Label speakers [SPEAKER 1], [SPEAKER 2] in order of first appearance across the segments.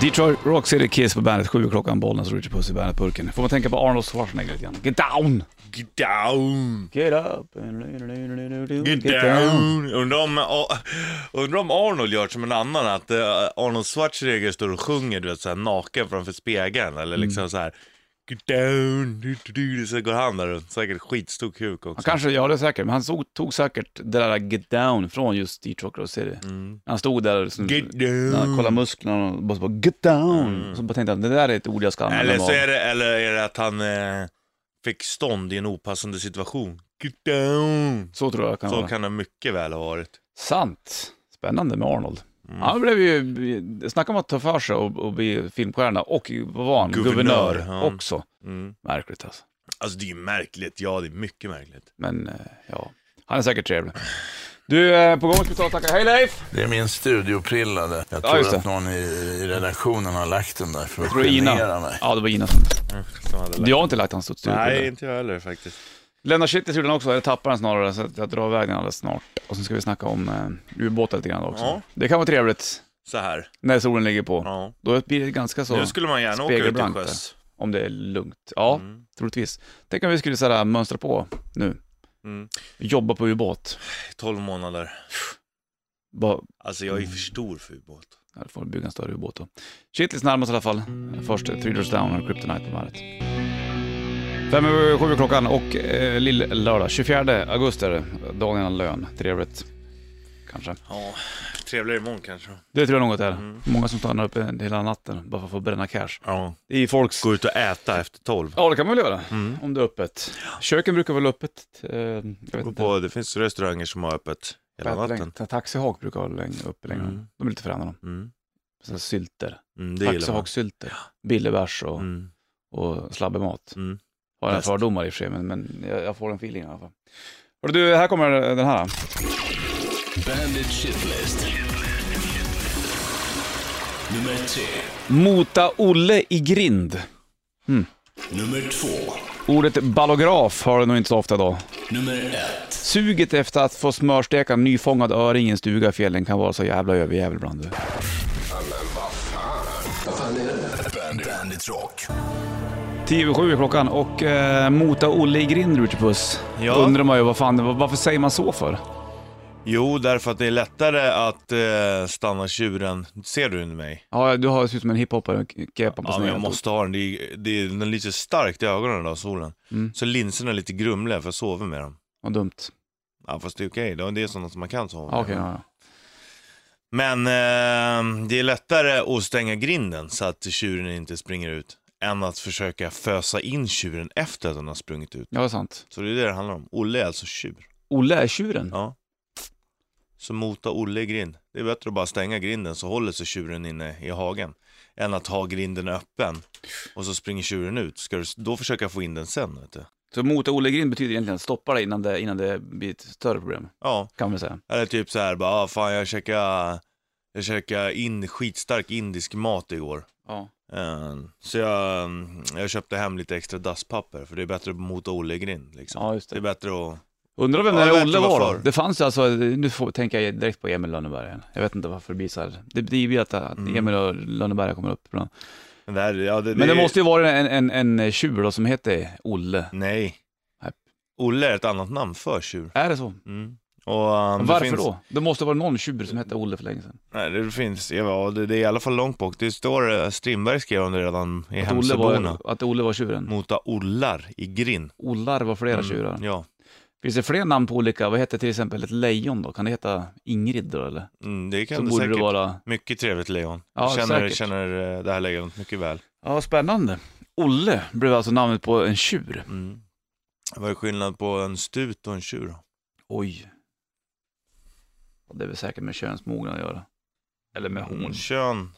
[SPEAKER 1] Detroit Rock City Kiss på bandet, sju klockan, Bollnäs och Richard Puss i bandet-burken. Får man tänka på Arnold Schwarzenegger lite grann. Get down!
[SPEAKER 2] Get down,
[SPEAKER 1] Get up! and-
[SPEAKER 2] get down. Undrar om, oh, undrar om Arnold gör som en annan, att eh, Arnold Schwarzenegger står och sjunger du vet, så här, naken framför spegeln eller liksom så här. Get down, du, du, du, så går han där runt. Säkert skitstor kuk också.
[SPEAKER 1] Han kanske, ja det är säkert, men han såg, tog säkert det där Get down från just Detroit Rock City. Han stod där och snus-
[SPEAKER 2] Mm. Get
[SPEAKER 1] när han kollade
[SPEAKER 2] down. Mm.
[SPEAKER 1] musklerna och bara, så bara Get down! Så bara tänkte han, det där är ett ord jag ska använda
[SPEAKER 2] Eller
[SPEAKER 1] mig
[SPEAKER 2] så
[SPEAKER 1] av.
[SPEAKER 2] är det, eller är det att han eh, fick stånd i en opassande situation. Get down.
[SPEAKER 1] Så tror jag kan
[SPEAKER 2] Så
[SPEAKER 1] vara.
[SPEAKER 2] kan det mycket väl ha varit.
[SPEAKER 1] Sant. Spännande med Arnold.
[SPEAKER 2] Mm.
[SPEAKER 1] Han blev ju, snacka om att ta för sig och, och bli filmstjärna och vad var han? Guvernör,
[SPEAKER 2] Guvernör, ja.
[SPEAKER 1] också.
[SPEAKER 2] Mm.
[SPEAKER 1] Märkligt alltså.
[SPEAKER 2] Alltså det är ju märkligt, ja det är mycket märkligt.
[SPEAKER 1] Men eh, ja, han är säkert trevlig. Du, eh, på gång ska vi ta och tacka. Hej Leif!
[SPEAKER 3] Det är min studioprillade. Jag tror
[SPEAKER 1] just det.
[SPEAKER 3] att någon i, i redaktionen har lagt den där för att
[SPEAKER 1] Det var Ina.
[SPEAKER 3] genera mig.
[SPEAKER 1] Ja, det var Ina som...
[SPEAKER 2] Mm, Som hade lagt-
[SPEAKER 1] Jag har inte lagt hans åt studion.
[SPEAKER 2] Nej, inte jag heller faktiskt.
[SPEAKER 1] Lennart Kittis gjorde den också, eller tappade den snarare, så att jag drar iväg den alldeles snart. Och sen ska vi snacka om eh, ubåtar lite grann också.
[SPEAKER 2] Ja.
[SPEAKER 1] Det kan vara trevligt
[SPEAKER 2] Så här.
[SPEAKER 1] när solen ligger på.
[SPEAKER 2] Ja.
[SPEAKER 1] Då blir det ganska så...
[SPEAKER 2] Nu skulle man gärna åka ut till
[SPEAKER 1] spegelblankt
[SPEAKER 2] sjöss.
[SPEAKER 1] Om det är lugnt. Ja, troligtvis. Tänk om vi skulle sådär, mönstra på nu.
[SPEAKER 2] Mm.
[SPEAKER 1] Jobba på ubåt.
[SPEAKER 2] 12 månader.
[SPEAKER 1] Bara,
[SPEAKER 2] Alltså jag är ju för stor för ubåt.
[SPEAKER 1] ja, då får vi bygga en större ubåt då. Shitlist närmast i alla fall. Först eh, Three Doors Down och Kryptonite på bandet. Fem över sju är klockan och eh, lill-lördag. 24 augusti är det. Dagen innan lön. Trevligt. Kanske.
[SPEAKER 2] Ja, trevligare imorgon kanske. Mm.
[SPEAKER 1] Det tror jag nog att det är. Många som stannar uppe hela natten bara för att få bränna cash.
[SPEAKER 2] Ja.
[SPEAKER 1] Det är folks...
[SPEAKER 2] Gå ut och äta efter Mm. 12.
[SPEAKER 1] Ja, det kan man väl göra. Om det är öppet. Köken brukar väl öppet. Eh, jag vet
[SPEAKER 2] Gå
[SPEAKER 1] inte.
[SPEAKER 2] på, det finns restauranger som har öppet hela natten.
[SPEAKER 1] Ätlängt. Taxihak brukar vara länge, uppe längre.
[SPEAKER 2] Mm.
[SPEAKER 1] De är lite förändrade.
[SPEAKER 2] Mm.
[SPEAKER 1] Så här sylter.
[SPEAKER 2] Mm, det gillar man.
[SPEAKER 1] Taxihaksylter. Billebärs och,
[SPEAKER 2] Mm.
[SPEAKER 1] och slabbemat.
[SPEAKER 2] Mm.
[SPEAKER 1] Har jag
[SPEAKER 2] Bäst.
[SPEAKER 1] fördomar i och för sig, men, men jag, jag får en feeling i alla fall. Hörru du, här kommer den här.
[SPEAKER 4] Bandit Shitlist. Nummer tre.
[SPEAKER 1] Mota Olle i grind.
[SPEAKER 4] Nummer två.
[SPEAKER 1] Ordet ballograf har du nog inte så ofta idag.
[SPEAKER 4] Nummer ett.
[SPEAKER 1] Suget efter att få smörsteka en nyfångad öring i en stuga i fjällen kan vara så jävla överjävel ibland du.
[SPEAKER 4] Bandit, Bandit Rock.
[SPEAKER 1] 10 över sju är klockan och eh, mota Olle i grind, Rutipus.
[SPEAKER 2] Ja.
[SPEAKER 1] Då undrar man ju vad fan, var- varför säger man så för?
[SPEAKER 2] Jo, därför att det är lättare att eh, stanna tjuren. Ser du under mig?
[SPEAKER 1] Ja, du har ser ut som en hiphoppare med kepan på
[SPEAKER 2] Ja, men jag
[SPEAKER 1] sned.
[SPEAKER 2] måste ha den. Det är, det är, den lyser starkt i ögonen idag, solen. Så linserna är lite grumliga för jag sover med dem.
[SPEAKER 1] Vad dumt.
[SPEAKER 2] Ja, fast det är okej. då. Det är sådana som man kan sova
[SPEAKER 1] Ja,
[SPEAKER 2] med.
[SPEAKER 1] okej, ja, ja.
[SPEAKER 2] Men eh, det är lättare att stänga grinden så att tjuren inte springer ut än att försöka fösa in tjuren efter att den har sprungit ut.
[SPEAKER 1] ja, det är sant.
[SPEAKER 2] Så det är det det handlar om. Olle är alltså tjur.
[SPEAKER 1] Olle är tjuren.
[SPEAKER 2] Ja. Så mota Olle i grind. Det är bättre att bara stänga grinden så håller sig tjuren inne i hagen. Än att ha grinden öppen och så springer tjuren ut. Ska du s- då försöka få in den sen? Vet du?
[SPEAKER 1] Så mota Olle i grind betyder egentligen att stoppa det innan det, innan det blir ett större problem,
[SPEAKER 2] Ja,
[SPEAKER 1] kan man säga.
[SPEAKER 2] eller typ så här bara, ah, fan jag käkade, jag käkade in, skitstark indisk mat igår.
[SPEAKER 1] Ja.
[SPEAKER 2] Eh, Så jag, mm, jag köpte hem lite extra dasspapper för det är bättre att mota Olle i grind liksom.
[SPEAKER 1] Ja, just det.
[SPEAKER 2] det är bättre att...
[SPEAKER 1] Undrar vem
[SPEAKER 2] Ja,
[SPEAKER 1] den
[SPEAKER 2] jag
[SPEAKER 1] där
[SPEAKER 2] vet
[SPEAKER 1] Olle
[SPEAKER 2] inte
[SPEAKER 1] var då?
[SPEAKER 2] varför.
[SPEAKER 1] Det fanns ju alltså, nu får, tänker jag direkt på Emil Lönneberg igen. Jag vet inte varför det blir så här. Det blir ju att att Emil och Lönneberg kommer upp ibland.
[SPEAKER 2] Men det, här, ja, det,
[SPEAKER 1] Men det måste ju vara en, en, en tjur då som heter Olle.
[SPEAKER 2] Nej.
[SPEAKER 1] Nej.
[SPEAKER 2] Olle är ett annat namn för tjur.
[SPEAKER 1] Är det så?
[SPEAKER 2] Mm. Och, um, det
[SPEAKER 1] Varför
[SPEAKER 2] finns,
[SPEAKER 1] då? Det måste vara någon tjur som hette Olle för länge sedan.
[SPEAKER 2] Nej, det finns, ja, det, det är i alla fall långt bak. Det står, eh, Strindberg skrev om det redan i
[SPEAKER 1] Att Olle,
[SPEAKER 2] Hemsöborna.
[SPEAKER 1] var, att Olle var tjuren.
[SPEAKER 2] Mota ollar i grind. Mm.
[SPEAKER 1] Ollar var flera tjurar.
[SPEAKER 2] Ja,
[SPEAKER 1] Finns det fler namn på olika? Vad heter till exempel ett lejon då? Kan det heta Ingrid då eller?
[SPEAKER 2] mm, det kan
[SPEAKER 1] Så
[SPEAKER 2] det
[SPEAKER 1] borde
[SPEAKER 2] säkert.
[SPEAKER 1] det vara...
[SPEAKER 2] Mycket trevligt lejon.
[SPEAKER 1] Ja,
[SPEAKER 2] Jag känner,
[SPEAKER 1] säkert.
[SPEAKER 2] känner eh, det här lejonet mycket väl.
[SPEAKER 1] Ja, spännande. Olle blev alltså namnet på en tjur.
[SPEAKER 2] Mm. Vad är skillnad på en stut och en tjur? då?
[SPEAKER 1] Oj. Ja, Det är väl säkert med könsmognad att göra. Eller med
[SPEAKER 2] Mm.
[SPEAKER 1] horn.
[SPEAKER 2] Kön.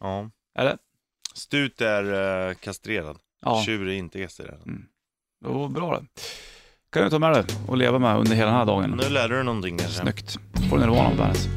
[SPEAKER 2] Ja.
[SPEAKER 1] Eller?
[SPEAKER 2] Stut är eh, kastrerad.
[SPEAKER 1] Ja,
[SPEAKER 2] Tjur är inte kastrerad.
[SPEAKER 1] det var bra det. Kan du ta med det och leva med under hela den här dagen.
[SPEAKER 2] Nu lärde du någonting kanske.
[SPEAKER 1] Snyggt. Får du Nirvana på bandet.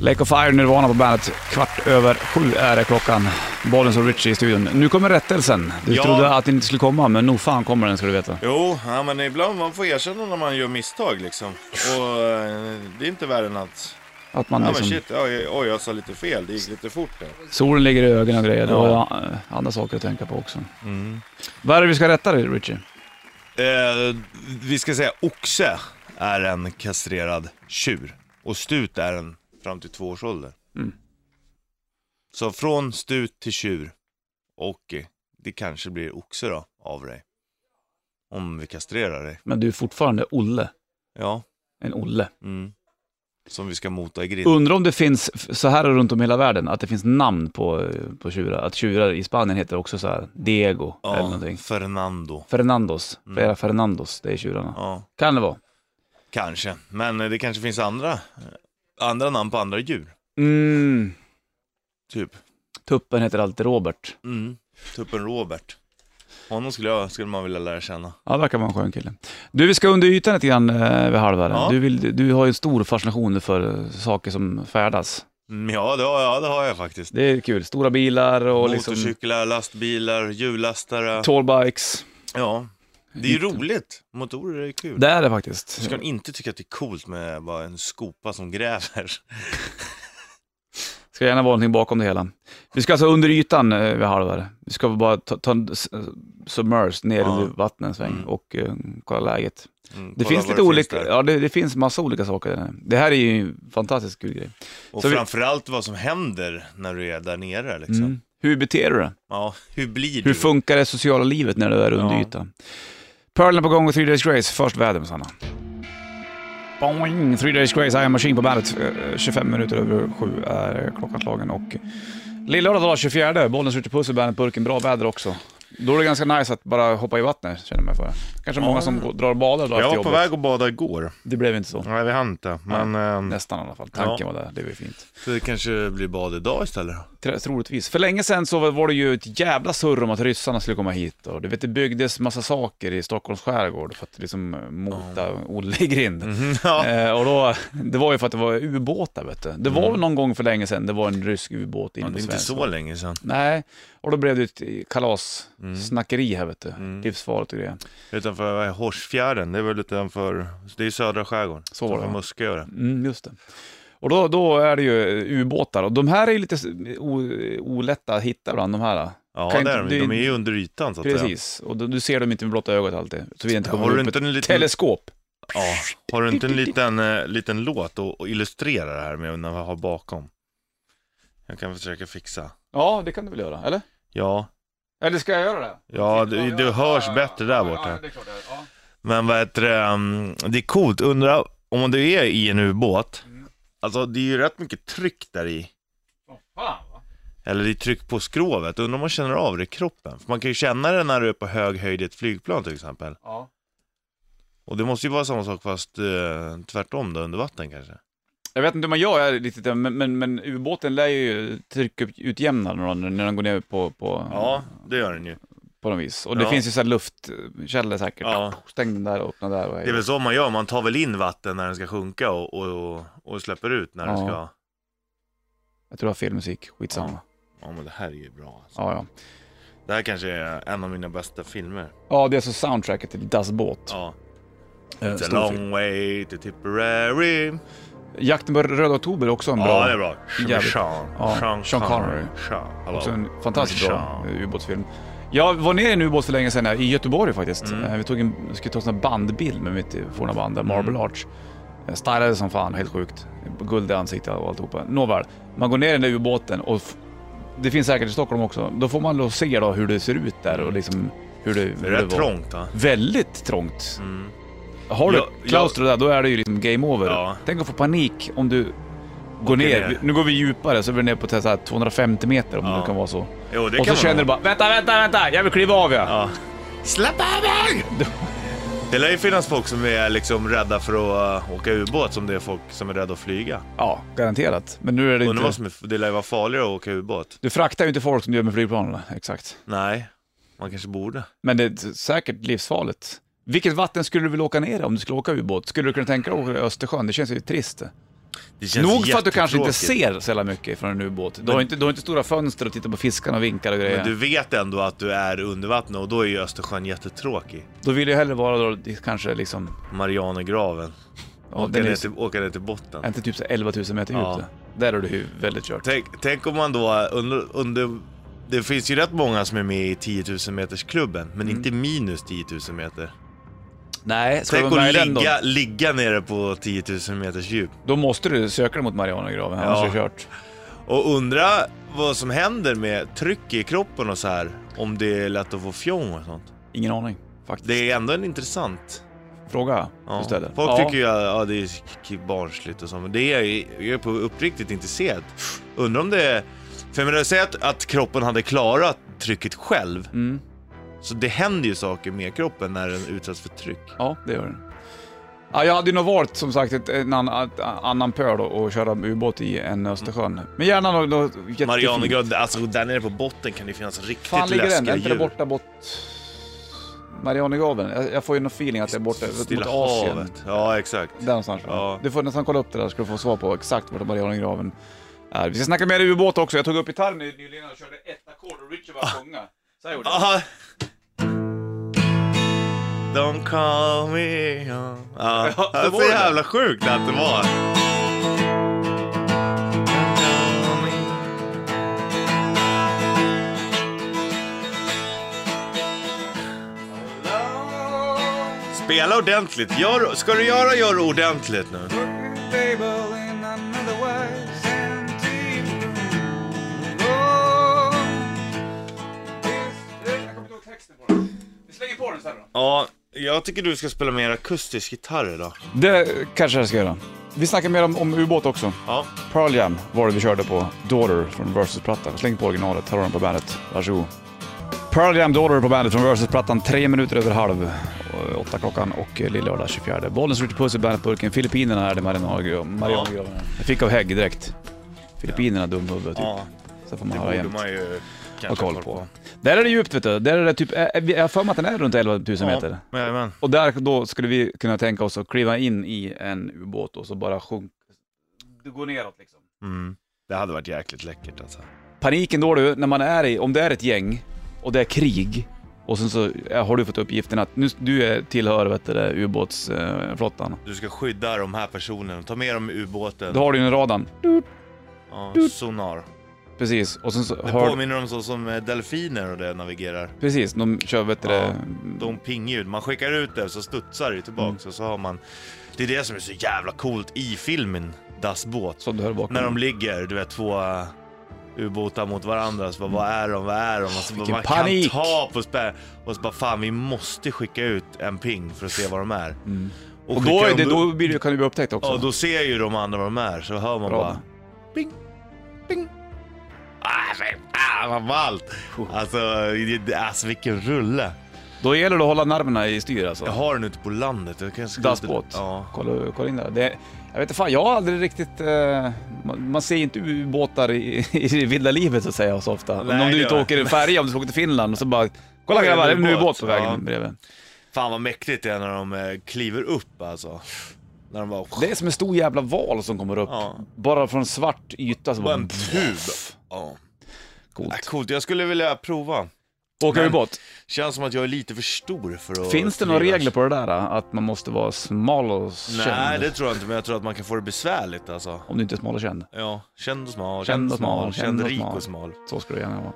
[SPEAKER 1] Lake of Fire, Nirvana på bandet. Kvart över sju är det klockan. Bollens och Richie i studion. Nu kommer rättelsen. Du
[SPEAKER 2] Ja.
[SPEAKER 1] trodde att den inte skulle komma, men nog fan kommer den ska du veta.
[SPEAKER 2] Jo, ja, men ibland man får erkänna när man gör misstag liksom. Och eh, det är inte värre än att
[SPEAKER 1] Att man
[SPEAKER 2] Ja
[SPEAKER 1] liksom,
[SPEAKER 2] men shit, oj, oj jag sa lite fel, det gick lite fort där.
[SPEAKER 1] solen ligger i ögonen och grejer. Det var
[SPEAKER 2] Ja. Mm.
[SPEAKER 1] eh, andra saker att tänka på också. Vad är det vi ska rätta dig, Richie?
[SPEAKER 2] Eh, vi ska säga oxe är en kastrerad tjur och stut är en fram till två års ålder.
[SPEAKER 1] Mm.
[SPEAKER 2] Så från stut till tjur och eh, det kanske blir oxe då av dig. Om vi kastrerar dig.
[SPEAKER 1] Men du är fortfarande Olle.
[SPEAKER 2] Ja.
[SPEAKER 1] En Olle.
[SPEAKER 2] Mm. Som vi ska mota i grind.
[SPEAKER 1] Undrar om det finns, f- så här runt om i hela världen, att det finns namn på, eh, på tjurar. Att tjurar i Spanien heter också så här Diego eller
[SPEAKER 2] Ja,
[SPEAKER 1] någonting.
[SPEAKER 2] Fernando.
[SPEAKER 1] Fernandos,
[SPEAKER 2] Mm.
[SPEAKER 1] flera Fernandos, det är tjurarna.
[SPEAKER 2] Ja,
[SPEAKER 1] Kan det vara.
[SPEAKER 2] kanske. Men eh, det kanske finns andra, eh, andra namn på andra djur.
[SPEAKER 1] Mm.
[SPEAKER 2] Typ.
[SPEAKER 1] Tuppen heter alltid Robert.
[SPEAKER 2] Mm. Tuppen Robert. Honom skulle, jag, skulle man vilja lära känna.
[SPEAKER 1] Ja, verkar vara en skön kille. Du, vi ska under ytan lite grann eh, vid halva.
[SPEAKER 2] Ja.
[SPEAKER 1] Du, vill, du har ju en stor fascination för eh, saker som färdas.
[SPEAKER 2] Mm, ja, det har jag, det har jag faktiskt.
[SPEAKER 1] Det är kul. Stora bilar och liksom
[SPEAKER 2] Motorcyklar, lastbilar, hjullastare.
[SPEAKER 1] tallbikes.
[SPEAKER 2] Ja, det är ju roligt. Motorer är kul.
[SPEAKER 1] Det är det faktiskt.
[SPEAKER 2] Du ska inte tycka att det är coolt med bara en skopa som gräver.
[SPEAKER 1] ska gärna vara någonting bakom det hela. Vi ska alltså under ytan eh, vid halva. Vi ska bara ta, ta en s- eh, submerged ner
[SPEAKER 2] Ja.
[SPEAKER 1] under vattnet en sväng
[SPEAKER 2] Mm.
[SPEAKER 1] och eh, kolla läget.
[SPEAKER 2] Mm,
[SPEAKER 1] Det
[SPEAKER 2] kolla
[SPEAKER 1] finns
[SPEAKER 2] vad
[SPEAKER 1] lite olika,
[SPEAKER 2] där.
[SPEAKER 1] ja det, det finns massa olika saker. där nere. Det här är ju en fantastiskt kul grej.
[SPEAKER 2] Och
[SPEAKER 1] så vi-
[SPEAKER 2] framförallt vad som händer när du är där nere liksom.
[SPEAKER 1] Mm. Hur beter du dig?
[SPEAKER 2] Ja, hur blir
[SPEAKER 1] Hur
[SPEAKER 2] du?
[SPEAKER 1] funkar det sociala livet när du är under
[SPEAKER 2] Ja.
[SPEAKER 1] ytan? Pearl är på gång och Three Days Grace. Först väder med Sanna. Boing! Three Days Grace, I am Machine på bandet. Eh, 25 minuter över sju är klockan slagen och lillördag dag 24. Bollnäs ute puss i bandet-burken. Bra väder också. Då är det ganska nice att bara hoppa i vattnet, känner man för. Kanske många som går- drar och badar då efter
[SPEAKER 2] Jag var på
[SPEAKER 1] jobbet.
[SPEAKER 2] väg Mm. att bada igår.
[SPEAKER 1] Det blev inte så.
[SPEAKER 2] Nej, vi hann inte. Men ehm,
[SPEAKER 1] Nästan i alla fall. Tanken var där. Det var fint.
[SPEAKER 2] så det kanske blir bad idag istället.
[SPEAKER 1] Tro- Troligtvis. För länge sedan så var det ju ett jävla surr om att ryssarna skulle komma hit. Och du vet, det byggdes massa saker i Stockholms skärgård för att liksom eh, mota Olle i grind.
[SPEAKER 2] Mm, Ja.
[SPEAKER 1] Eh, och då, det var ju för att det var ubåtar vet du. Det var väl någon gång för länge sedan det var en rysk ubåt inne på
[SPEAKER 2] Mm. Ja, det är inte Mm.
[SPEAKER 1] svensk
[SPEAKER 2] så
[SPEAKER 1] mark.
[SPEAKER 2] länge sedan.
[SPEAKER 1] Nej, och då blev det ett kalassnackeri här vet du.
[SPEAKER 2] Mm.
[SPEAKER 1] Livsfarligt och grejer.
[SPEAKER 2] Utanför vad är Horsfjärden, det är väl utanför, det är södra skärgården.
[SPEAKER 1] Så var det,
[SPEAKER 2] Utanför
[SPEAKER 1] va?
[SPEAKER 2] Muskö är det.
[SPEAKER 1] Mm, just det. Och då, då är det ju eh, ubåtar och de här är ju lite s- o- olätta att hitta ibland de här. Kan
[SPEAKER 2] Ja, det
[SPEAKER 1] inte-
[SPEAKER 2] är de. ju. De är ju under ytan så att säga.
[SPEAKER 1] Precis, och du, du ser dem inte med blotta ögat alltid. Så vi inte
[SPEAKER 2] Ja,
[SPEAKER 1] kommer
[SPEAKER 2] har du
[SPEAKER 1] upp
[SPEAKER 2] inte
[SPEAKER 1] ett
[SPEAKER 2] en liten-
[SPEAKER 1] teleskop.
[SPEAKER 2] Ja. Har du inte en liten, eh, liten låt att att illustrera det här med när vi har bakom? Jag kan försöka fixa.
[SPEAKER 1] Ja, det kan du väl göra, eller?
[SPEAKER 2] Ja,
[SPEAKER 1] Eller ska jag göra det?
[SPEAKER 2] ja du, du hörs bättre där borta.
[SPEAKER 1] det är klart. Ja.
[SPEAKER 2] Men vad heter det, ehm, det är coolt, undra om du är i en ubåt. Alltså det är ju rätt mycket tryck där i. Eller det är tryck på skrovet, undrar om man känner av det i kroppen. För man kan ju känna det när du är på hög höjd i ett flygplan till exempel.
[SPEAKER 1] Ja.
[SPEAKER 2] Och det måste ju vara samma sak fast eh, tvärtom då, under vatten kanske.
[SPEAKER 1] Jag vet inte hur man gör riktigt, det, men, men, men ubåten lär ju tryckutjämna när den- när den går ner på, på,
[SPEAKER 2] Ja, det gör den ju.
[SPEAKER 1] på något vis. Och det
[SPEAKER 2] Ja.
[SPEAKER 1] finns ju så här luftkällor säkert.
[SPEAKER 2] Ja.
[SPEAKER 1] Stäng den där och öppna där. Och hej.
[SPEAKER 2] Det är väl så man gör, man tar väl in vatten när den ska sjunka och, och, och, och släpper ut när den
[SPEAKER 1] Ja.
[SPEAKER 2] ska...
[SPEAKER 1] Jag tror det var fel musik, skitsamma.
[SPEAKER 2] Ja men det här är ju bra alltså.
[SPEAKER 1] Ja, ja.
[SPEAKER 2] Det här kanske är en av mina bästa filmer.
[SPEAKER 1] ja det är alltså soundtracket till Das Boot.
[SPEAKER 2] Ja.
[SPEAKER 1] Eh,
[SPEAKER 2] It's a
[SPEAKER 1] stor film.
[SPEAKER 2] long way to Tipperary.
[SPEAKER 1] Jakten på Röda Oktober är också en bra.
[SPEAKER 2] Ja, det är bra.
[SPEAKER 1] Jävligt.
[SPEAKER 2] Sean,
[SPEAKER 1] Ja,
[SPEAKER 2] Sean,
[SPEAKER 1] Sean Connery.
[SPEAKER 2] Sean, hallå.
[SPEAKER 1] Också en fantastiskt bra
[SPEAKER 2] Sean.
[SPEAKER 1] eh, ubåtsfilm. Jag var nere i en ubåt för länge sedan, här, i Göteborg faktiskt. Eh, Vi tog en, skulle ta en sån här bandbild med mitt forna band, där, Marble Arch. Jag stylade som fan, helt sjukt. Guld i ansiktet och alltihopa. Nåväl, man går ner i den där ubåten och f- det finns säkert i Stockholm också. Då får man då se då hur det ser ut där och liksom hur det,
[SPEAKER 2] Det
[SPEAKER 1] hur
[SPEAKER 2] är rätt trångt va?
[SPEAKER 1] Väldigt trångt. Mm. Har du
[SPEAKER 2] Jag- jag-
[SPEAKER 1] klaustret där, då är det ju liksom game over.
[SPEAKER 2] Ja.
[SPEAKER 1] Tänk att få panik om du går ner.
[SPEAKER 2] ner.
[SPEAKER 1] Nu går vi djupare, så är vi ner på så här 250 meter om
[SPEAKER 2] Ja.
[SPEAKER 1] det kan vara så.
[SPEAKER 2] Jo, det
[SPEAKER 1] Och så
[SPEAKER 2] kan man
[SPEAKER 1] känner
[SPEAKER 2] ha.
[SPEAKER 1] du bara, vänta, vänta, vänta, jag vill kliva av ja.
[SPEAKER 2] Ja. Släpp av mig! Det lär ju finnas folk som är liksom rädda för att uh, åka ubåt som det är folk som är rädda att flyga.
[SPEAKER 1] Ja, garanterat. Men nu är det
[SPEAKER 2] Undrar
[SPEAKER 1] inte...
[SPEAKER 2] vad som är, det lär ju vara farligare att åka ubåt.
[SPEAKER 1] Du fraktar ju inte folk som du gör med flygplanen, exakt.
[SPEAKER 2] Nej, man kanske borde.
[SPEAKER 1] Men det är t- säkert livsfarligt. Vilket vatten skulle du vilja åka ner i om du skulle åka ubåt? Skulle du kunna tänka dig att åka i Östersjön? Det känns ju trist.
[SPEAKER 2] Det känns
[SPEAKER 1] Nog för att du kanske inte
[SPEAKER 2] jättetråkigt.
[SPEAKER 1] ser så jävla mycket från en ubåt. Du har, inte, du har inte stora fönster och tittar på fiskarna och vinkar och grejer.
[SPEAKER 2] Men du vet ändå att du är under vattnet och då är ju Östersjön jättetråkig.
[SPEAKER 1] Då vill jag hellre vara då, kanske liksom
[SPEAKER 2] Marianergraven.
[SPEAKER 1] Ja,
[SPEAKER 2] åka,
[SPEAKER 1] den
[SPEAKER 2] ner
[SPEAKER 1] är,
[SPEAKER 2] till, åka ner till botten.
[SPEAKER 1] är inte typ så 11 000 meter
[SPEAKER 2] Ja.
[SPEAKER 1] djupt. Där har du ju väldigt kört.
[SPEAKER 2] Tänk, tänk om man då under, under... Det finns ju rätt många som är med i 10 000 metersklubben, men
[SPEAKER 1] Mm.
[SPEAKER 2] inte minus 10 000 meter.
[SPEAKER 1] Nej, ska
[SPEAKER 2] Tänk
[SPEAKER 1] du vara
[SPEAKER 2] att
[SPEAKER 1] med i den då?
[SPEAKER 2] ligga, ligga nere på 10 000 meters djup.
[SPEAKER 1] Då måste du söka dig mot Marianagraven, annars
[SPEAKER 2] Ja.
[SPEAKER 1] är det kört.
[SPEAKER 2] Och undra vad som händer med tryck i kroppen och så här. Om det är lätt att få fjong och sånt.
[SPEAKER 1] Ingen aning faktiskt.
[SPEAKER 2] Det är ändå en intressant
[SPEAKER 1] Fråga
[SPEAKER 2] ja.
[SPEAKER 1] du ställer.
[SPEAKER 2] Folk
[SPEAKER 1] ja.
[SPEAKER 2] tycker ju att ja, det är k- barnsligt och så, men det är jag- jag är på uppriktigt intresserad. Undrar om det är... För jag menar, säg att, att kroppen hade klarat trycket själv.
[SPEAKER 1] Mm.
[SPEAKER 2] Så det händer ju saker med kroppen när den utsätts för tryck.
[SPEAKER 1] Ja, det gör den. Ja, jag hade ju nog valt som sagt ett, en annan, ett, annan pöl och och köra ubåt i än Östersjön. Men gärna något något jättefint.
[SPEAKER 2] Marianergrund, alltså där nere på botten kan det finnas riktigt
[SPEAKER 1] Fan ligger den? Är
[SPEAKER 2] läskiga
[SPEAKER 1] inte det
[SPEAKER 2] djur.
[SPEAKER 1] borta bort... Marianergraven? Jag, jag får ju någon feeling att det är borta mot
[SPEAKER 2] Stilla
[SPEAKER 1] Asien.
[SPEAKER 2] havet. Ja, exakt.
[SPEAKER 1] Där någonstans.
[SPEAKER 2] Ja.
[SPEAKER 1] Du får nästan kolla upp det där så ska du få svar på exakt vart Marianergraven är. Vi ska snacka mer ubåt också. Jag tog upp gitarren ny- nyligen och körde ett ackord och Richard var sjunga. Så här gjorde jag.
[SPEAKER 2] Aha. Don't call me ja. Ja,
[SPEAKER 1] Ja, så
[SPEAKER 2] det är
[SPEAKER 1] var det.
[SPEAKER 2] så jävla sjukt att det var. Spela ordentligt. Gör, ska du göra, gör det ordentligt nu. Ja, jag tycker du ska spela mer akustisk gitarr idag.
[SPEAKER 1] Det kanske jag ska göra. Vi snackar mer om, om ubåt också.
[SPEAKER 2] Ja.
[SPEAKER 1] Pearl Jam var det vi körde på Daughter från Versus-plattan. Släng på originalet, här har den på bandet. Varsågod. Pearl Jam Daughter på bandet från Versus-plattan, tre minuter över halv eh, åtta klockan och eh, lillördag 24. Bollens Ritchie Puss i bandetburken. Filippinerna är det Marianagraven. Marianagraven. Jag fick av Hägg direkt. Filippinerna, dumhuvud typ.
[SPEAKER 2] ja,
[SPEAKER 1] Så får man
[SPEAKER 2] det
[SPEAKER 1] höra
[SPEAKER 2] borde
[SPEAKER 1] jämt.
[SPEAKER 2] man ju kanske
[SPEAKER 1] Ha koll på. Där är det djupt vet du. Där är det typ, eh, eh, jag har för mig att den är runt 11 000 meter.
[SPEAKER 2] Ja, jajamän.
[SPEAKER 1] Och där då skulle vi kunna tänka oss att kliva in i en ubåt och så bara sjunka. Du går neråt liksom.
[SPEAKER 2] Mm. Det hade varit jäkligt läckert alltså.
[SPEAKER 1] Paniken då du, när man är i, om det är ett gäng och det är krig och sen så eh, har du fått uppgiften att nu, du är, tillhör vet du, det, eh, ubåtsflottan.
[SPEAKER 2] Du ska skydda de här personerna, ta med dem i ubåten.
[SPEAKER 1] Då har du ju en radan.
[SPEAKER 2] Ja, sonar.
[SPEAKER 1] Precis, och sen så
[SPEAKER 2] Det
[SPEAKER 1] hör...
[SPEAKER 2] påminner om så som eh, delfiner och det navigerar.
[SPEAKER 1] Precis, de kör vet du,
[SPEAKER 2] Ja,
[SPEAKER 1] det,
[SPEAKER 2] de pingljud. Man skickar ut det så studsar det tillbaks
[SPEAKER 1] Mm.
[SPEAKER 2] och så har man... Det är det som är så jävla coolt i filmen Das Båt.
[SPEAKER 1] som du hör bakom.
[SPEAKER 2] När de ligger, du vet två eh, ubåtar mot varandra. Så bara, vad är de, vad är de? Och så bara,
[SPEAKER 1] vilken
[SPEAKER 2] man
[SPEAKER 1] panik!
[SPEAKER 2] kan ta på spä... Och så bara fan vi måste skicka ut en ping för att se vad de är. Och,
[SPEAKER 1] Mm. och då,
[SPEAKER 2] skickar
[SPEAKER 1] är
[SPEAKER 2] de-
[SPEAKER 1] det, då blir, det- kan du bli upptäckt också.
[SPEAKER 2] Ja, då ser ju de andra vad de är, så hör man
[SPEAKER 1] Bra.
[SPEAKER 2] bara... Bing, bing. Ah, fy fan vad ballt! Alltså, det- alltså, vilken rulle.
[SPEAKER 1] Då gäller det att hålla nerverna i styr alltså.
[SPEAKER 2] Jag har den ute på landet. Jag kan skriva-
[SPEAKER 1] Dassbåt.
[SPEAKER 2] Ja.
[SPEAKER 1] Kolla, kolla in det. det jag vet inte fan, jag har aldrig riktigt... Eh, man, man ser ju inte ubåtar i, i det vilda livet så att säga så ofta.
[SPEAKER 2] Nej,
[SPEAKER 1] Men om
[SPEAKER 2] det
[SPEAKER 1] du inte
[SPEAKER 2] gör-
[SPEAKER 1] åker i färja, om du ska åka till Finland och så bara... Kolla
[SPEAKER 2] Oj,
[SPEAKER 1] grabbar, det
[SPEAKER 2] en
[SPEAKER 1] är en
[SPEAKER 2] ubåt."
[SPEAKER 1] ubåt på vägen
[SPEAKER 2] Ja.
[SPEAKER 1] bredvid.
[SPEAKER 2] Fan vad mäktigt det är när de eh, kliver upp alltså. När de bara...
[SPEAKER 1] Det är som en stor jävla val som kommer upp.
[SPEAKER 2] Ja.
[SPEAKER 1] Bara från svart yta så
[SPEAKER 2] Bara
[SPEAKER 1] bara...
[SPEAKER 2] en tub. Ja. Ah,
[SPEAKER 1] Coolt.
[SPEAKER 2] coolt, jag skulle vilja prova.
[SPEAKER 1] Åka
[SPEAKER 2] Men-
[SPEAKER 1] ubåt.
[SPEAKER 2] Känns som att jag är lite för stor för att...
[SPEAKER 1] Finns det några
[SPEAKER 2] trivas.
[SPEAKER 1] regler på det där? eh? Att man måste vara smal och känd?
[SPEAKER 2] Nej, det tror jag inte, men jag tror att man kan få det besvärligt alltså.
[SPEAKER 1] Om du inte är smal och känd.
[SPEAKER 2] Ja, känd och smal,
[SPEAKER 1] Känd
[SPEAKER 2] känd
[SPEAKER 1] och
[SPEAKER 2] och
[SPEAKER 1] smal,
[SPEAKER 2] smal, känd
[SPEAKER 1] känd och
[SPEAKER 2] rik
[SPEAKER 1] smal.
[SPEAKER 2] och smal.
[SPEAKER 1] Så skulle det gärna vara.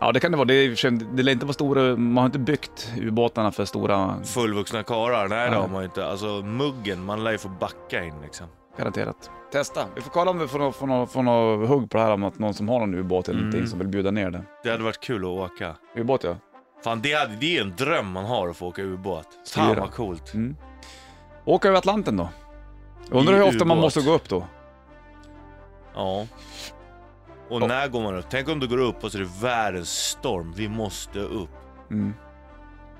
[SPEAKER 1] Ja, det kan det vara. Det, är, i och för sig- det lär inte vara stora... Man har inte byggt ubåtarna för stora
[SPEAKER 2] Fullvuxna karar, nej det
[SPEAKER 1] Ja.
[SPEAKER 2] har man ju inte. Alltså muggen, man lär ju få backa in liksom.
[SPEAKER 1] Garanterat. Testa. Vi får kolla om vi får något nå, får nå hugg på det här om att någon som har en ubåt eller någonting som vill bjuda ner det.
[SPEAKER 2] Det hade varit kul att åka.
[SPEAKER 1] Ubåt ja.
[SPEAKER 2] Fan det, hade, det är en dröm man har att få åka ubåt. Fan
[SPEAKER 1] Styra.
[SPEAKER 2] vad coolt.
[SPEAKER 1] Mm. Åka över Atlanten då. Jag undrar
[SPEAKER 2] I
[SPEAKER 1] hur ofta man
[SPEAKER 2] ubåt.
[SPEAKER 1] måste gå upp då.
[SPEAKER 2] Ja. Och
[SPEAKER 1] Ja.
[SPEAKER 2] när går man upp? Tänk om du går upp och så är det världens storm. Vi måste upp.
[SPEAKER 1] Mm.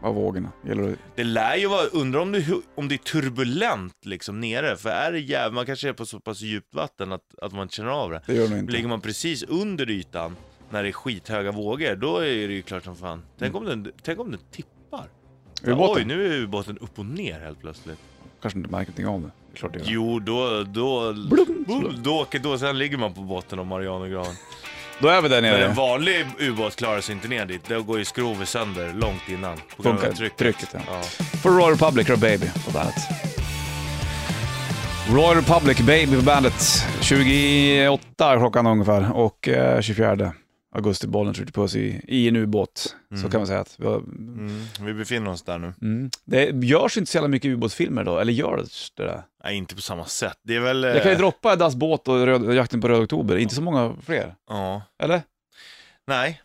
[SPEAKER 1] Av vågorna. Gäller det.
[SPEAKER 2] Det lär ju vara, undrar om det, hu- om det är turbulent liksom nere. För är det jävligt, man kanske är på så pass djupt vatten att, att man inte känner av det.
[SPEAKER 1] det gör det nog inte.
[SPEAKER 2] Ligger man precis under ytan när det är skithöga vågor, då är det ju klart som fan. Tänk om den, tänk om den tippar.
[SPEAKER 1] Ubåten?
[SPEAKER 2] Oj, nu är ubåten upp och ner helt plötsligt.
[SPEAKER 1] Kanske inte märker någonting av det. det är klart det gör.
[SPEAKER 2] Jo, då... Då,
[SPEAKER 1] Blum,
[SPEAKER 2] boom, då, åker- då sen ligger man på botten av Marianergraven.
[SPEAKER 1] Då är vi där
[SPEAKER 2] Men en
[SPEAKER 1] nere.
[SPEAKER 2] vanlig ubåt klarar sig inte ner dit. Då går ju skrovet sönder långt innan. På grund av
[SPEAKER 1] Funkar.
[SPEAKER 2] trycket.
[SPEAKER 1] Trycket ja.
[SPEAKER 2] Ja.
[SPEAKER 1] För Royal Republic och Baby på bandet. Royal Republic, Baby på bandet. 28 är klockan ungefär och eh, 24 augusti. Bollen skjuter på oss i, i en ubåt. Så kan man säga att vi har,
[SPEAKER 2] Mm, vi befinner oss där nu.
[SPEAKER 1] mm. Det görs inte så jävla mycket ubåtsfilmer då, eller görs det där?
[SPEAKER 2] Nej, inte på samma sätt. Det är väl...
[SPEAKER 1] Jag kan ju
[SPEAKER 2] eh,
[SPEAKER 1] droppa Das båt och röd, Jakten på Röd Oktober, inte så många fler.
[SPEAKER 2] Ja.
[SPEAKER 1] Eller?
[SPEAKER 2] Nej.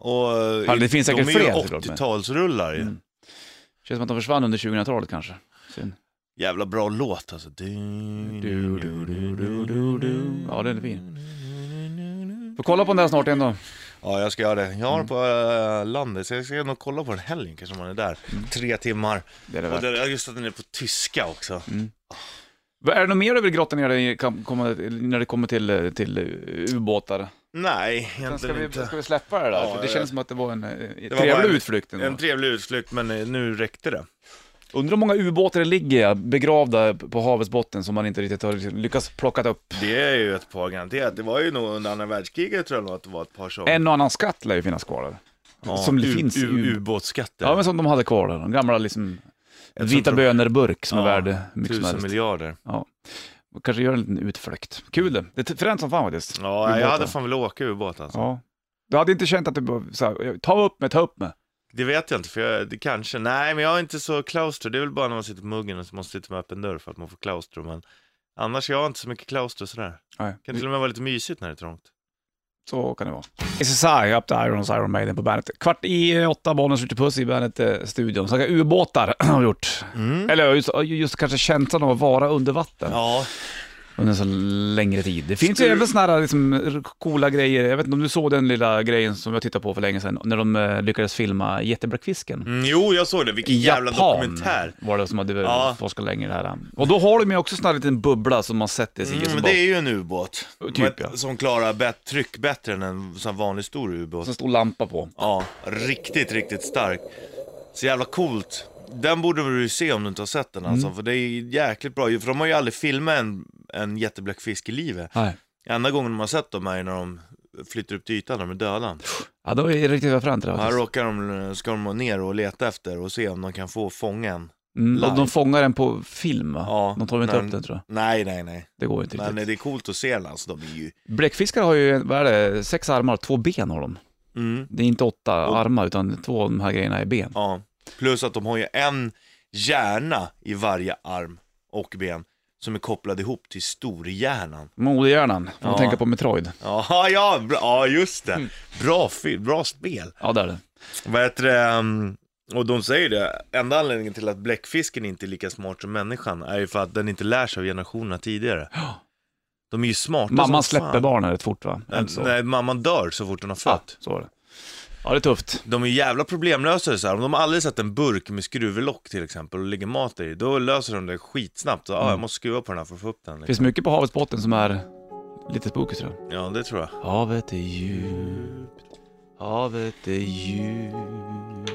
[SPEAKER 2] Och, eh,
[SPEAKER 1] Ja, det finns säkert
[SPEAKER 2] de är ju
[SPEAKER 1] fler, såklart, men-
[SPEAKER 2] 80-talsrullar ju.
[SPEAKER 1] Mm. Känns som att de försvann under 2000-talet kanske. Synd.
[SPEAKER 2] Jävla bra låt alltså. Du,
[SPEAKER 1] Du, du, du, du, du, du. Ja, den är fin. Får kolla på den där snart igen då.
[SPEAKER 2] Ja, jag ska göra det. Jag har
[SPEAKER 1] Mm.
[SPEAKER 2] den på eh, landet, så jag ska nog kolla på den helgen kanske om man är där. Tre timmar.
[SPEAKER 1] Mm. Det är det
[SPEAKER 2] Och
[SPEAKER 1] värt.
[SPEAKER 2] det, ja, just att den är på tyska också.
[SPEAKER 1] Vad Är det något mer du vill grotta ner dig i kam- komma- när det kommer till, eh, till eh, ubåtar?
[SPEAKER 2] Nej,
[SPEAKER 1] Sen
[SPEAKER 2] egentligen
[SPEAKER 1] ska, vi,
[SPEAKER 2] inte.
[SPEAKER 1] ska vi släppa det där?
[SPEAKER 2] Ja,
[SPEAKER 1] För det
[SPEAKER 2] jag
[SPEAKER 1] känns
[SPEAKER 2] vet.
[SPEAKER 1] som att det var en eh,
[SPEAKER 2] bara
[SPEAKER 1] trevlig
[SPEAKER 2] en-
[SPEAKER 1] utflykt. ändå.
[SPEAKER 2] En trevlig utflykt, men eh, nu räckte det.
[SPEAKER 1] Undrar hur många ubåtar det ligger begravda på havets botten som man inte riktigt har lyckats plocka upp.
[SPEAKER 2] Det är ju ett par garanterat. Det var ju nog under andra världskriget tror jag nog att det var ett par som...
[SPEAKER 1] En och annan skatt lär ju finnas kvar där.
[SPEAKER 2] ja,
[SPEAKER 1] som det
[SPEAKER 2] u-
[SPEAKER 1] finns
[SPEAKER 2] u-
[SPEAKER 1] ju.
[SPEAKER 2] Ubåtsskatter.
[SPEAKER 1] Ja, men som de hade kvar där. De gamla liksom,
[SPEAKER 2] Jag tror
[SPEAKER 1] vita
[SPEAKER 2] inte de-
[SPEAKER 1] bönor-burk som är
[SPEAKER 2] Ja,
[SPEAKER 1] värd mycket som
[SPEAKER 2] Tusen
[SPEAKER 1] helst.
[SPEAKER 2] miljarder.
[SPEAKER 1] Kanske gör en liten utflykt. Kul det. Det är fränt som fan faktiskt.
[SPEAKER 2] Ja,
[SPEAKER 1] Ubåtar.
[SPEAKER 2] jag hade fan velat åka ubåt alltså.
[SPEAKER 1] Ja. Du hade inte känt att du bara, så här, ta upp mig, ta upp mig.
[SPEAKER 2] Det vet jag inte, för jag, det kanske, nej men jag är inte så klauster. Det är väl bara när man sitter på muggen och så måste sitta med öppen dörr för att man får klaustro. Men annars, jag har inte så mycket klauster sådär.
[SPEAKER 1] Nej.
[SPEAKER 2] Kan till och med vara lite mysigt när det är trångt.
[SPEAKER 1] Så kan det vara. SSI, Up to Irons, Iron Maiden på bandet. Kvart i åtta, bollen skjuter puss i bandet-studion. Snacka ubåtar har vi gjort.
[SPEAKER 2] Mm.
[SPEAKER 1] Eller just, just kanske känslan av att vara under vatten
[SPEAKER 2] Ja,
[SPEAKER 1] under en så längre tid. Det finns ju även sådana här liksom, coola grejer. Jag vet inte om du såg den lilla grejen som jag tittade på för länge sedan, när de eh, lyckades filma jättebläckfisken.
[SPEAKER 2] mm, jo jag såg det. Vilken
[SPEAKER 1] I
[SPEAKER 2] jävla
[SPEAKER 1] Japan
[SPEAKER 2] dokumentär.
[SPEAKER 1] var det som hade
[SPEAKER 2] Ja.
[SPEAKER 1] forskat länge i det här. Och då har de ju också sån här liten bubbla som man sätter sig i.
[SPEAKER 2] Mm,
[SPEAKER 1] som
[SPEAKER 2] men
[SPEAKER 1] bara-
[SPEAKER 2] det är ju en ubåt.
[SPEAKER 1] Typ,
[SPEAKER 2] Men-
[SPEAKER 1] ja.
[SPEAKER 2] Som klarar bet- tryck bättre än en sån här vanlig stor ubåt.
[SPEAKER 1] som en stor lampa på.
[SPEAKER 2] Ja, riktigt, riktigt stark. Så jävla coolt. Den borde du ju se om du inte har sett den alltså, för det är jäkligt bra. För de har ju aldrig filmat en, en jättebläckfisk i livet.
[SPEAKER 1] Nej.
[SPEAKER 2] Enda gången man har sett dem är ju när de flyttar upp till ytan, de är döda.
[SPEAKER 1] Ja, då är det riktigt fränt det där,
[SPEAKER 2] Och här
[SPEAKER 1] faktiskt.
[SPEAKER 2] råkar de, ska de ner och leta efter och se om de kan få fånga en.
[SPEAKER 1] Mm, och
[SPEAKER 2] Live.
[SPEAKER 1] de fångar den på film va?
[SPEAKER 2] Ja,
[SPEAKER 1] de tar väl inte
[SPEAKER 2] men-
[SPEAKER 1] upp den tror jag.
[SPEAKER 2] Nej, nej, nej.
[SPEAKER 1] Det går inte
[SPEAKER 2] Men
[SPEAKER 1] riktigt.
[SPEAKER 2] det är coolt att se den alltså, de är ju...
[SPEAKER 1] Bläckfiskar har ju, vad är det, sex armar, två ben har de.
[SPEAKER 2] Mm,
[SPEAKER 1] Det är inte åtta armar utan två av de här grejerna är ben.
[SPEAKER 2] ja. Plus att de har ju en hjärna i varje arm och ben som är kopplad ihop till storhjärnan.
[SPEAKER 1] Modehjärnan, får man
[SPEAKER 2] Ja.
[SPEAKER 1] tänka på Metroid.
[SPEAKER 2] Ja, ja, bra, ja just det. Bra, fi- bra spel.
[SPEAKER 1] Ja, där är det.
[SPEAKER 2] Vad heter det? ehm, Och de säger det, enda anledningen till att bläckfisken inte är lika smart som människan är ju för att den inte lär sig av generationerna tidigare. De är ju smarta
[SPEAKER 1] Mamman
[SPEAKER 2] som fan.
[SPEAKER 1] släpper barnen rätt fort va? Är det
[SPEAKER 2] Nej,
[SPEAKER 1] inte så?
[SPEAKER 2] Nej, mamman dör så fort hon har
[SPEAKER 1] Ja,
[SPEAKER 2] fött.
[SPEAKER 1] så är det. Ja, det är tufft.
[SPEAKER 2] De är jävla problemlösare så här. om de aldrig sett en burk med skruvelock till exempel och lägger mat i, då löser de det skitsnabbt. Så, ah, jag måste skruva på den här för att få upp den.
[SPEAKER 1] Det
[SPEAKER 2] Liksom.
[SPEAKER 1] finns mycket på havets botten som är lite spooky tror jag.
[SPEAKER 2] Ja, det tror jag.
[SPEAKER 1] Havet är djupt, havet är djupt.